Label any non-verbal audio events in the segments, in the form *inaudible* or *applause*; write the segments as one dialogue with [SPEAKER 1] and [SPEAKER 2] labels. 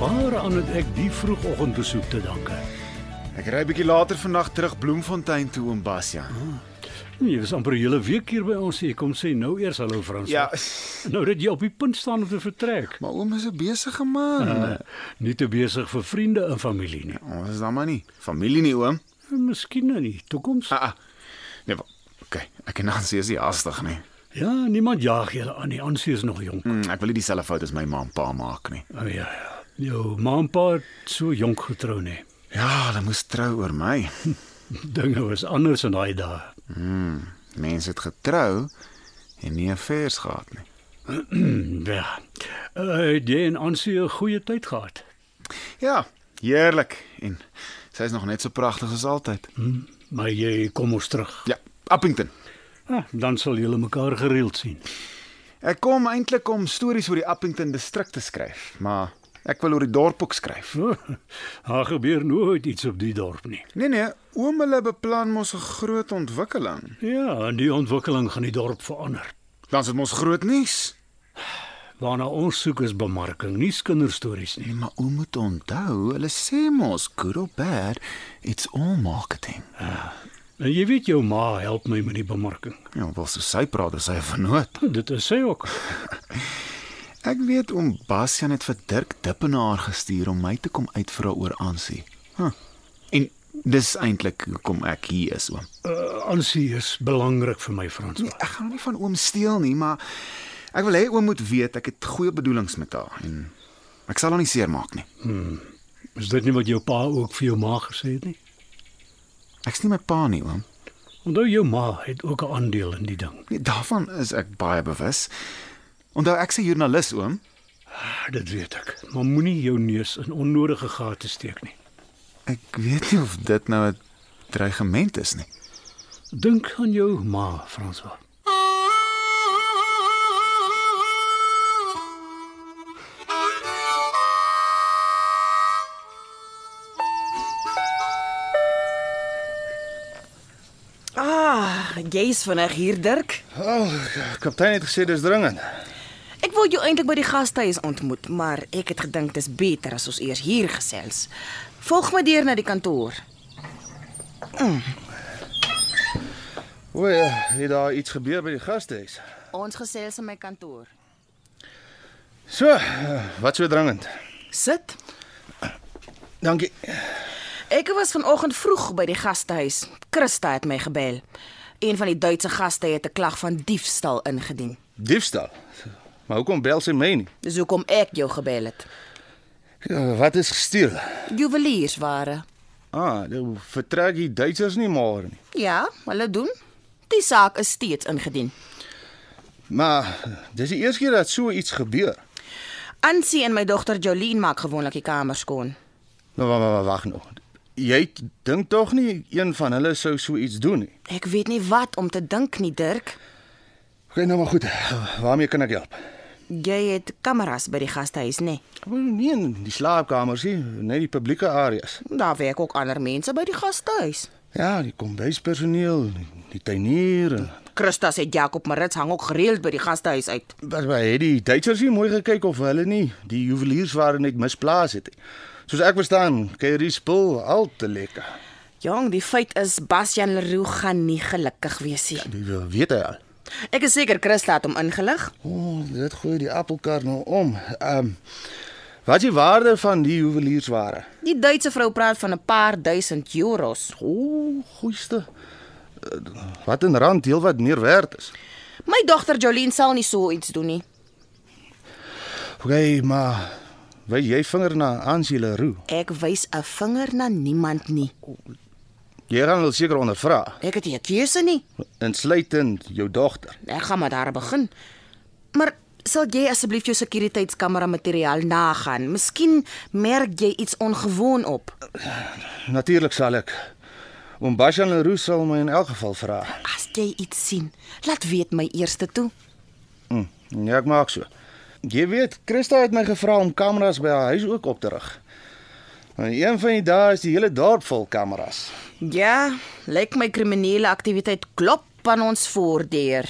[SPEAKER 1] Waaraan het ek die vroegoggendbesoek te danke?
[SPEAKER 2] Ek ry bietjie later vandag terug Bloemfontein toe oom Basja.
[SPEAKER 1] Jy was Nee, amper 'n hele week hier by ons. Jy kom sê nou eers hallo Frans.
[SPEAKER 2] Ja.
[SPEAKER 1] Nou dat jy op die punt staan om te vertrek.
[SPEAKER 2] maar oom is 'n besige man.
[SPEAKER 1] Uh, nie te besig vir vriende en familie nie.
[SPEAKER 2] Ons is dan maar nie familie nie oom.
[SPEAKER 1] Miskien nou in die toekoms.
[SPEAKER 2] Ah, ah. Nee, wa- okay. Ek en Nancy is nie haastig nie.
[SPEAKER 1] Ja, niemand jaag julle aan nie. Ansie is nog jonk.
[SPEAKER 2] Mm, ek wil nie dieselfde fout as my ma en pa maak nie.
[SPEAKER 1] O oh, ja, ja. Jou ma en pa het so jonk getrou nê.
[SPEAKER 2] Ja, hulle moes trou oor my.
[SPEAKER 1] *laughs* Dinge was anders in daai dae.
[SPEAKER 2] Mense het getrou en nie affairs gehad nie.
[SPEAKER 1] Ja. Uh, jy en Ansie 'n goeie tyd gehad.
[SPEAKER 2] Ja, heerlik. En sy is nog net so pragtig as altyd.
[SPEAKER 1] Maar jy kom ons terug.
[SPEAKER 2] Ja, Appington.
[SPEAKER 1] Ah, dan sal julle mekaar gereeld sien.
[SPEAKER 2] Ek kom eintlik om stories oor die Appington distrik te skryf, maar ek wil oor die dorp ook skryf.
[SPEAKER 1] Oh, *laughs* daar gebeur nooit iets op die dorp nie.
[SPEAKER 2] Nee nee, oom hulle beplan mos 'n groot ontwikkeling.
[SPEAKER 1] Ja, en die ontwikkeling gaan die dorp verander.
[SPEAKER 2] Dan is dit mos groot nuus.
[SPEAKER 1] Waarna ons soek is bemarking, nie kinderstories nie.
[SPEAKER 2] Nee, maar oom moet onthou, hulle sê mos good or bad, it's all marketing.
[SPEAKER 1] En jy weet jou ma help my met die bemarking.
[SPEAKER 2] Ja, wel so sy praat as sy vernoot.
[SPEAKER 1] Dit is sy ook.
[SPEAKER 2] Ek weet oom Bastian het vir Dirk Dippenaar gestuur om my te kom uitvra oor Ansie. Huh. En dis eintlik hoekom ek hier is, oom.
[SPEAKER 1] Uh, Ansie is belangrik vir my Frans.
[SPEAKER 2] Nee, ek gaan hom nie van oom steel nie, maar ek wil hê oom moet weet ek het goeie bedoelings met haar en ek sal haar nie seermaak nie.
[SPEAKER 1] Is dit nie wat jou pa ook vir jou ma gesê het nie?
[SPEAKER 2] Ek's nie my pa nie, oom.
[SPEAKER 1] Onthou jou ma het ook 'n aandeel in die ding.
[SPEAKER 2] Nee, daarvan is ek baie bewus. Onthou ek se joernalis oom.
[SPEAKER 1] Ah, dit weet ek. Maar moenie jou neus in onnodige gate steek nie.
[SPEAKER 2] Ek weet nie of dit nou 'n dreigement is nie.
[SPEAKER 1] Dink aan jou ma, François.
[SPEAKER 3] Ah, jy's vinnig hier, Dirk.
[SPEAKER 4] Oh, kaptein het gesê dis dringend.
[SPEAKER 3] Ek wou jou eintlik by die gastehuis ontmoet, maar ek het gedink dis beter as ons eers hier gesels. Volg my deur na die kantoor.
[SPEAKER 4] O ja, het daar iets gebeur by die gastehuis?
[SPEAKER 3] Ons gesels in my kantoor.
[SPEAKER 4] So, eh, wat so dringend?
[SPEAKER 3] Sit.
[SPEAKER 4] Dankie.
[SPEAKER 3] Ek was vanoggend vroeg by die gastehuis. Christa het my gebel. Een van die Duitse gaste het 'n klag van diefstal ingedien.
[SPEAKER 4] Diefstal. Maar hoekom bel sy my nie?
[SPEAKER 3] Dis hoekom ek jou gebel het.
[SPEAKER 4] Ja, Wat is gesteel?
[SPEAKER 3] Juweliersware.
[SPEAKER 4] Ah, nou vertrek die Duitsers nie môre nie.
[SPEAKER 3] Ja, hulle doen. Die saak is steeds ingedien.
[SPEAKER 4] Maar eh, dis die eerste keer dat so iets gebeur.
[SPEAKER 3] Ansie en my dogter Jolene maak gewoonlik die kamer skoon.
[SPEAKER 4] Nou wag, wag, wag nog. Jy dink tog nie een van hulle sou so iets doen nie.
[SPEAKER 3] Ek weet nie wat om te dink nie, Dirk.
[SPEAKER 4] OK, nou maar goed. Waarmee kan ek help?
[SPEAKER 3] Jy het kameras by die gastehuis, nê? Nee.
[SPEAKER 4] Wel, Nee, in die slaapkamers nie, net die publieke areas.
[SPEAKER 3] Daar werk ook ander mense by die gastehuis.
[SPEAKER 4] Ja, die kombuispersoneel, die, die tuinier. en-
[SPEAKER 3] Christa sê Jakob Marits hang ook gereeld by die gastehuis uit.
[SPEAKER 4] Wat by het die Duitsers nie mooi gekyk of hulle nie die juweliersware net misplaas het nie. Soos ek verstaan, kyk hierdie spul al te lekker.
[SPEAKER 3] Jong, die feit is Bastian Leroux gaan nie gelukkig wees nie.
[SPEAKER 4] Wie wil weet hy al?
[SPEAKER 3] Ek is seker Christa het hom ingelig.
[SPEAKER 4] O, oh, dit gooi die appelkar nou om. Ehm um, Wat is die waarde van die juweliersware?
[SPEAKER 3] Die Duitse vrou praat van 'n paar duisend euros.
[SPEAKER 4] O, oh, goeieste. Eh, Wat in rand deel wat meer werd is.
[SPEAKER 3] My dogter Jolene sal nie so iets doen nie.
[SPEAKER 4] OK, maar wy jy vinger na Angela Roo.
[SPEAKER 3] Ek wys 'n vinger na niemand nie.
[SPEAKER 4] Jy gaan wel seker ondervra,
[SPEAKER 3] Ek het nie 'n keuse nie.
[SPEAKER 4] insluitend jou dogter.
[SPEAKER 3] Ek gaan maar daar begin. Maar sal jy asseblief jou sekuriteitskamera materiaal nagaan? Miskien merk jy iets ongewoon op.
[SPEAKER 4] Natuurlik sal ek. Oom Bashan Leroux sal my in elk geval vra.
[SPEAKER 3] As jy iets sien, laat weet my eerste toe.
[SPEAKER 4] Hm, ja, ek maak so. Jy weet, Christa het my gevra om kameras by haar huis ook op te rig. En een van die dae is die hele dorp vol kameras.
[SPEAKER 3] Ja, lyk my kriminele aktiwiteit klop aan ons voordeur.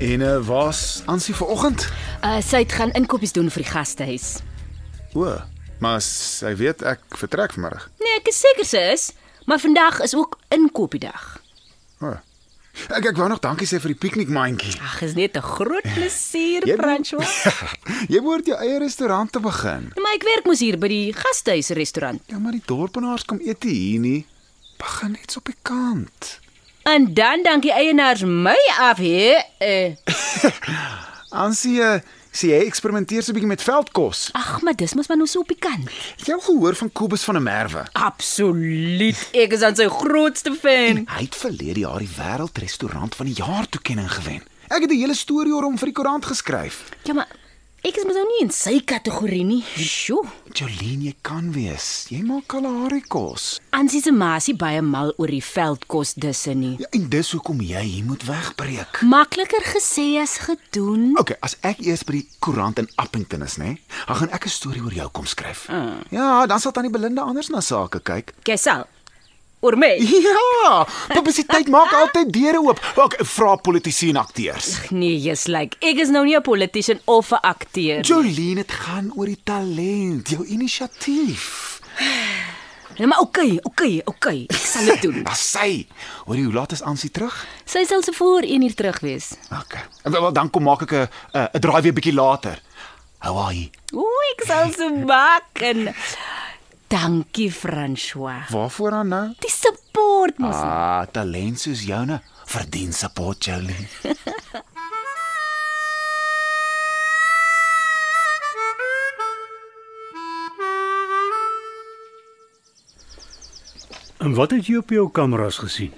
[SPEAKER 2] En uh, waar's Ansie vanoggend?
[SPEAKER 5] Uh, sy het gaan inkopies doen vir die gastehuis.
[SPEAKER 2] O, maar sy weet ek vertrek vanmiddag.
[SPEAKER 5] Nee, ek is seker sy is, maar vandag is ook inkopiedag.
[SPEAKER 2] O. Ek ek wou nog dankie sê vir die piknikmandjie.
[SPEAKER 5] Ag, is net 'n groot plesier,
[SPEAKER 2] Jy-
[SPEAKER 5] François.
[SPEAKER 2] Jy moet jou eie restaurant te begin.
[SPEAKER 5] Nee, Maar ek werk mos hier by die gastehuis restaurant.
[SPEAKER 2] Ja, maar die dorpenaars kom eet nie hier nie. Begin net so op die kant.
[SPEAKER 5] En dan dank die eienaars my af hè. Uh,
[SPEAKER 2] Ansie eh, sê jy eksperimenteer so 'n bietjie met veldkos.
[SPEAKER 5] Ag, maar dis mos maar nou so op die kant.
[SPEAKER 2] Het jy al gehoor van Kobus van der Merwe?
[SPEAKER 5] Absoluut. Ek is aan sy grootste fan.
[SPEAKER 2] *laughs* Hy het verlede jaar die wêreldrestaurant van die jaar toekenning gewen. Ek het 'n hele storie oor hom vir die koerant geskryf.
[SPEAKER 5] Ja, maar ek is mos nou nie in sy kategorie nie. Sjoe.
[SPEAKER 2] Jolien, jy kan wees. Jy maak Kalahari kos.
[SPEAKER 5] Ansie se maasie baie mal oor die veldkos disse nie.
[SPEAKER 2] Ja, en dis hoekom jy hier moet wegbreek.
[SPEAKER 5] Makliker gesê as gedoen.
[SPEAKER 2] OK, as ek eers by die koerant in Appington is, nê, dan gaan ek 'n storie oor jou kom skryf. Mm. Ja, dan sal tannie Belinda anders na sake kyk. *laughs*
[SPEAKER 5] Kesal. Oor my.
[SPEAKER 2] Ja, publisiteit maak altyd deure oop. Ook vra politici en akteurs.
[SPEAKER 5] Ag, *laughs* Nee, jy's like, ek is nou nie 'n politician of 'n akteur.
[SPEAKER 2] Jolene, dit gaan oor die talent, jou inisiatief.
[SPEAKER 5] Nee, maar okay, okay, okay. Ek sal dit doen.
[SPEAKER 2] As sy, hoor jy hoe laat is Ansie terug?
[SPEAKER 5] Sy sal se voor 1 uur terug wees.
[SPEAKER 2] OK. Wel, wel, dan kom maak ek 'n 'n- 'n draai weer bietjie later. Hou haar hier.
[SPEAKER 5] Ooh, ek sal so maak en dankie François.
[SPEAKER 2] Waarvoor dan nou?
[SPEAKER 5] Die support mos. Ah.
[SPEAKER 2] Ah, talent soos joune verdien support, Jolene.
[SPEAKER 1] En wat het jy op jou kameras gesien?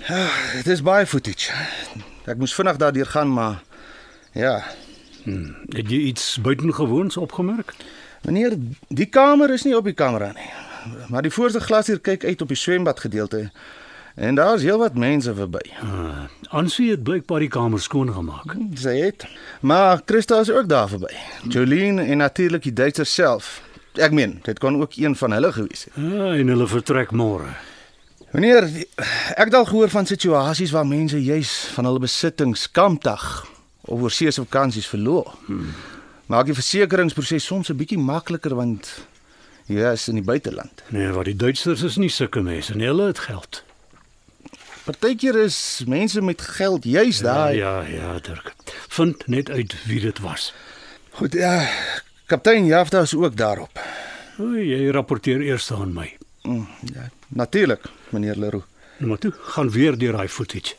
[SPEAKER 4] Dit is baie footage. Ek moes vinnig daardeur gaan, maar ja,
[SPEAKER 1] Het jy iets buitengewoons opgemerk?
[SPEAKER 4] Meneer, die kamer is nie op die kamera nie. Maar die voorste glasdeur kyk uit op die swembad gedeelte. En daar's heelwat mense verby.
[SPEAKER 1] Uh, Ansie het blykbaar die kamer skoon gemaak.
[SPEAKER 4] Sy het. Maar Christa is ook daar verby. Jolene en natuurlik die Duitser self. Ek meen, dit kon ook een van hulle gewees het.
[SPEAKER 1] Ja, en hulle vertrek môre.
[SPEAKER 4] Meneer, die- ek het al gehoor van situasies waar mense juis van hulle besittings kampdag of oorsee se vakansies verloor. Hmm. Maak die versekeringsproses soms 'n bietjie makliker want jy is in die buiteland.
[SPEAKER 1] Nee, wat die Duitsers is nie sulke mense nie. Hulle het geld.
[SPEAKER 4] Partykeer is mense met geld juis
[SPEAKER 1] Ja,
[SPEAKER 4] daar. Ja, ja.
[SPEAKER 1] ja, ja, Dirk. Vind net uit wie dit was.
[SPEAKER 4] Goed, ja. Kaptein Jafta is ook daarop.
[SPEAKER 1] O, jy rapporteer eers aan my.
[SPEAKER 4] Mm, Ja, natuurlik, meneer Leroux.
[SPEAKER 1] Nou maar toe, gaan weer deur daai footage.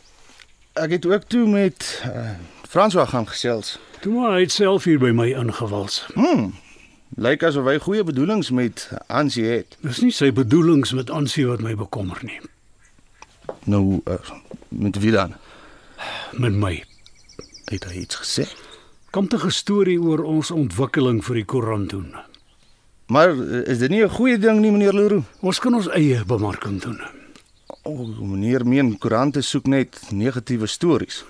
[SPEAKER 4] Ek het ook toe met uh, François gaan gesels.
[SPEAKER 1] Toe maar hy het self hier by my ingewals.
[SPEAKER 4] Lyk asof hy goeie bedoelings met Ansie het.
[SPEAKER 1] Dis nie sy bedoelings met Ansie wat my bekommer nie,
[SPEAKER 4] Nou uh, met wie dan?
[SPEAKER 1] met my.
[SPEAKER 4] Het hy iets gesê?
[SPEAKER 1] Kom te 'n storie oor ons ontwikkeling vir die koerant doen.
[SPEAKER 4] Maar eh, is dit nie 'n goeie ding nie, meneer Leroux?
[SPEAKER 1] Ons kan ons eie bemarking doen.
[SPEAKER 4] O, oh, meneer meen koerante soek net negatiewe stories.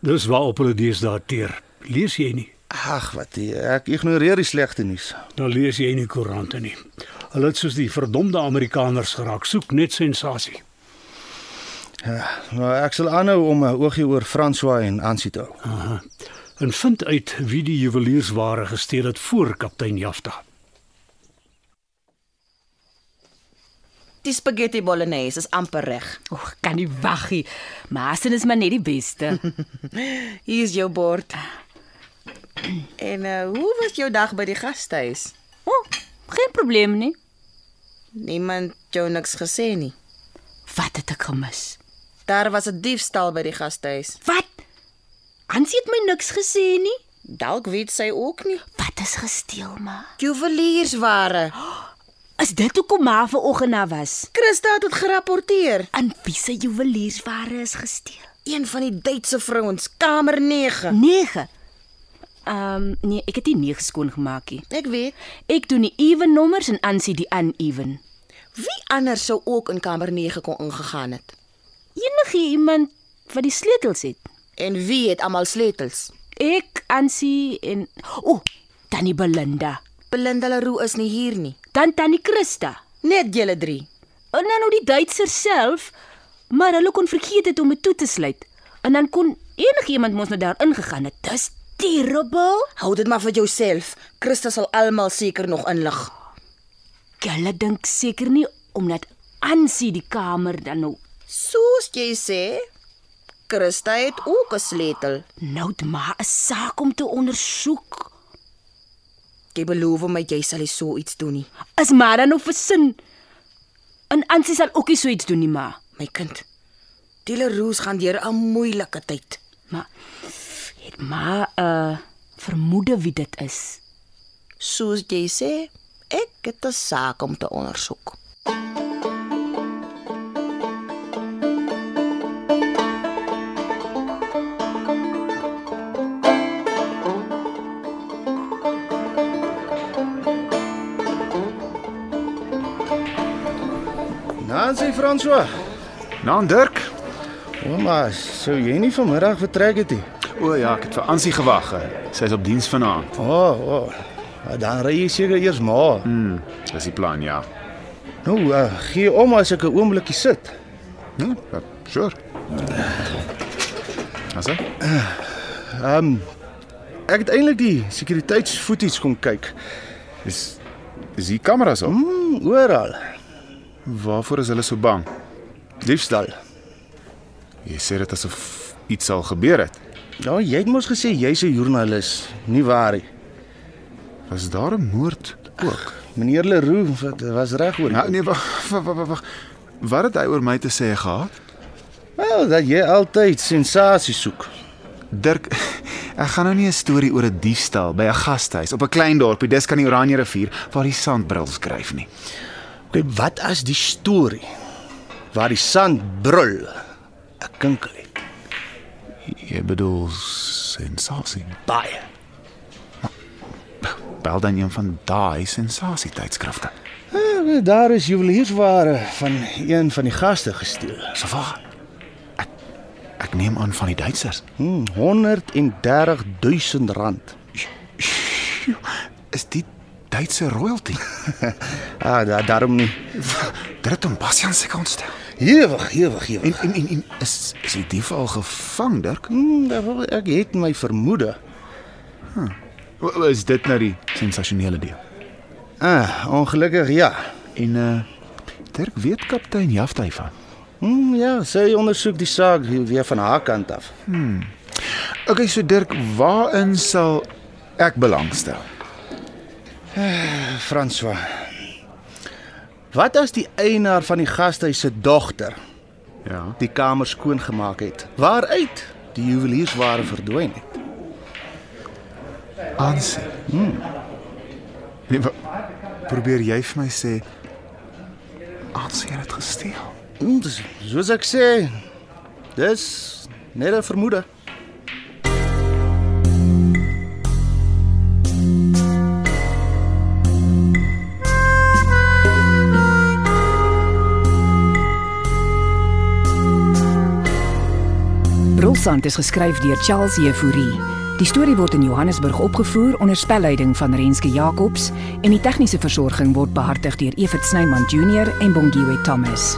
[SPEAKER 1] Dis waarop hulle deesdae teer. Lees jy nie?
[SPEAKER 4] Ag, wat die, ek ignoreer die slegte nuus.
[SPEAKER 1] Dan lees jy nie koerante nie. Hulle het soos die verdomde Amerikaners geraak, soek net sensasie.
[SPEAKER 4] Ja, maar ek sal aanhou om 'n oogie oor François en Ansie te hou.
[SPEAKER 1] Aha. En vind uit wie die juweliersware gesteel het voor kaptein Jafta.
[SPEAKER 3] Die spaghetti bolognese is amper reg.
[SPEAKER 5] Oeg, kan nie wag nie. Maasen is maar net die beste.
[SPEAKER 3] Hier is jou bord. En uh, hoe was jou dag by die gastehuis?
[SPEAKER 5] O, oh, geen probleem nie.
[SPEAKER 3] Niemand jou niks gesê nie.
[SPEAKER 5] Wat het ek gemis?
[SPEAKER 3] Daar was 'n diefstal by die gastehuis.
[SPEAKER 5] Wat? Hansie het my niks gesê nie.
[SPEAKER 3] Dalk weet sy ook nie.
[SPEAKER 5] Wat is gesteel, ma?
[SPEAKER 3] Juweliersware.
[SPEAKER 5] Is dit hoekom ma vanoggend daar was?
[SPEAKER 3] Christa het dit gerapporteer.
[SPEAKER 5] In wie se juweliersware is gesteel?
[SPEAKER 3] Een van die Duitse vrouens, kamer 9.
[SPEAKER 5] 9. Ehm um, nee, ek het nie 9 skoon gemaak nie.
[SPEAKER 3] Ek weet.
[SPEAKER 5] Ek doen die even nommers en Ansie die uneven.
[SPEAKER 3] Wie anders sou ook in kamer 9 kon ingegaan het?
[SPEAKER 5] Enige iemand wat die sleutels het.
[SPEAKER 3] En wie het almal sleutels?
[SPEAKER 5] Ek, Ansie en o, oh, tannie Belinda,
[SPEAKER 3] Belinda Leroux is nie hier nie.
[SPEAKER 5] dan tannie Christa.
[SPEAKER 3] Net julle drie.
[SPEAKER 5] En dan nou die Duitsers self, maar hulle kon vergeet het om dit toe te sluit. En dan kon enigiemand mos nou daar ingegaan het. Dis terrible.
[SPEAKER 3] Hou dit maar vir jouself. Christa sal almal seker nog inlig.
[SPEAKER 5] Hulle dink seker nie omdat Ansie die kamer dan nou
[SPEAKER 3] Soos jy sê, Christa het ook 'n sleutel.
[SPEAKER 5] nou het maar 'n saak om te ondersoek.
[SPEAKER 3] Jy beloof my jy sal nie so iets doen nie,
[SPEAKER 5] Is maar dan nou versin. En Ansie sal ook nie so iets doen nie, maar
[SPEAKER 3] my kind. Die Leroux gaan deur 'n moeilike tyd.
[SPEAKER 5] maar het maar 'n uh, vermoede wie dit is.
[SPEAKER 3] Soos jy sê, ek het 'n saak om te ondersoek.
[SPEAKER 4] Nancy François.
[SPEAKER 2] Naan Nou, Dirk.
[SPEAKER 4] Ouma, sou jy nie vanmiddag vertrek het nie?
[SPEAKER 2] O ja, ek het vir Ansie gewag. hè. Sy is op diens vanaand.
[SPEAKER 4] O, oh, o. Oh. ja, Dan ry jy seker eers maar.
[SPEAKER 2] Hm, dis die plan, ja.
[SPEAKER 4] Nou, uh, gee om as ek 'n oombliekie sit.
[SPEAKER 2] Hm, ja, sure. Asse?
[SPEAKER 4] Ehm, Ek het eintlik die sekuriteitsfootage kom kyk.
[SPEAKER 2] Is is die kameras op? Hmm.
[SPEAKER 4] Hmm, Oral.
[SPEAKER 2] Waarvoor is hulle so bang?
[SPEAKER 4] Diefstal.
[SPEAKER 2] Jy sê dit asof iets al gebeur het.
[SPEAKER 4] Ja, jy het mos gesê jy's 'n joernalis, nie waar nie?
[SPEAKER 2] Was daar 'n moord ook?
[SPEAKER 4] Meneer Leroux, wat was reg oor?
[SPEAKER 2] Nou nee, wag, wag, wag, wag. Wat het hy oor my te sê gehad?
[SPEAKER 4] Wel, dat jy altyd sensasie soek.
[SPEAKER 2] Dirk, *laughs* ek gaan nou nie 'n storie oor 'n diefstal by 'n gastehuis op 'n klein dorpie dis kan die Oranje rivier waar die sandbril skryf nie.
[SPEAKER 4] Okay, wat as die storie waar die sand brul 'n kinkel het?
[SPEAKER 2] Jy bedoel sensasie.
[SPEAKER 4] Baie.
[SPEAKER 2] Bel dan een van daai sensasietydskrifte.
[SPEAKER 4] Eh, Daar is juweliersware van een van die gaste gesteel.
[SPEAKER 2] Sofa. Ek ek neem aan van die Duitsers.
[SPEAKER 4] Hmm, 130 000 rand.
[SPEAKER 2] Is die Duitse royalty?
[SPEAKER 4] Ah, da, daarom nie.
[SPEAKER 2] Dit het hom Bastian se konstel.
[SPEAKER 4] Hewig, hewig, hewig.
[SPEAKER 2] En en en, en is is die dief al gevang, Dirk?
[SPEAKER 4] Hmm, daar- ek het my vermoede.
[SPEAKER 2] O, o, Is dit nou die sensasionele deel?
[SPEAKER 4] Ah, ongelukkig ja.
[SPEAKER 2] En uh Dirk weet kaptein Jaftai van.
[SPEAKER 4] Hmm, ja, sy ondersoek die saak weer van haar kant af.
[SPEAKER 2] Okay, so Dirk, waarin sal ek belangstel?
[SPEAKER 4] François. Wat as die eienaar van die gastehuis se dogter
[SPEAKER 2] Ja.
[SPEAKER 4] die kamer skoongemaak het? Waaruit die juweliersware verdwyn het?
[SPEAKER 2] Ansie. Hmm. Nee, wa- probeer jy vir my sê Ansie het dit gesteel?
[SPEAKER 4] Hmm, dis, soos ek sê, dis net 'n vermoede.
[SPEAKER 6] Brolsand is geskryf deur Charles Jefouri. Die storie word in Johannesburg opgevoer onder spelleiding van Renske Jacobs en die tegniese versorging word behartig deur Evert Snyman Junior en Bongwe Thomas.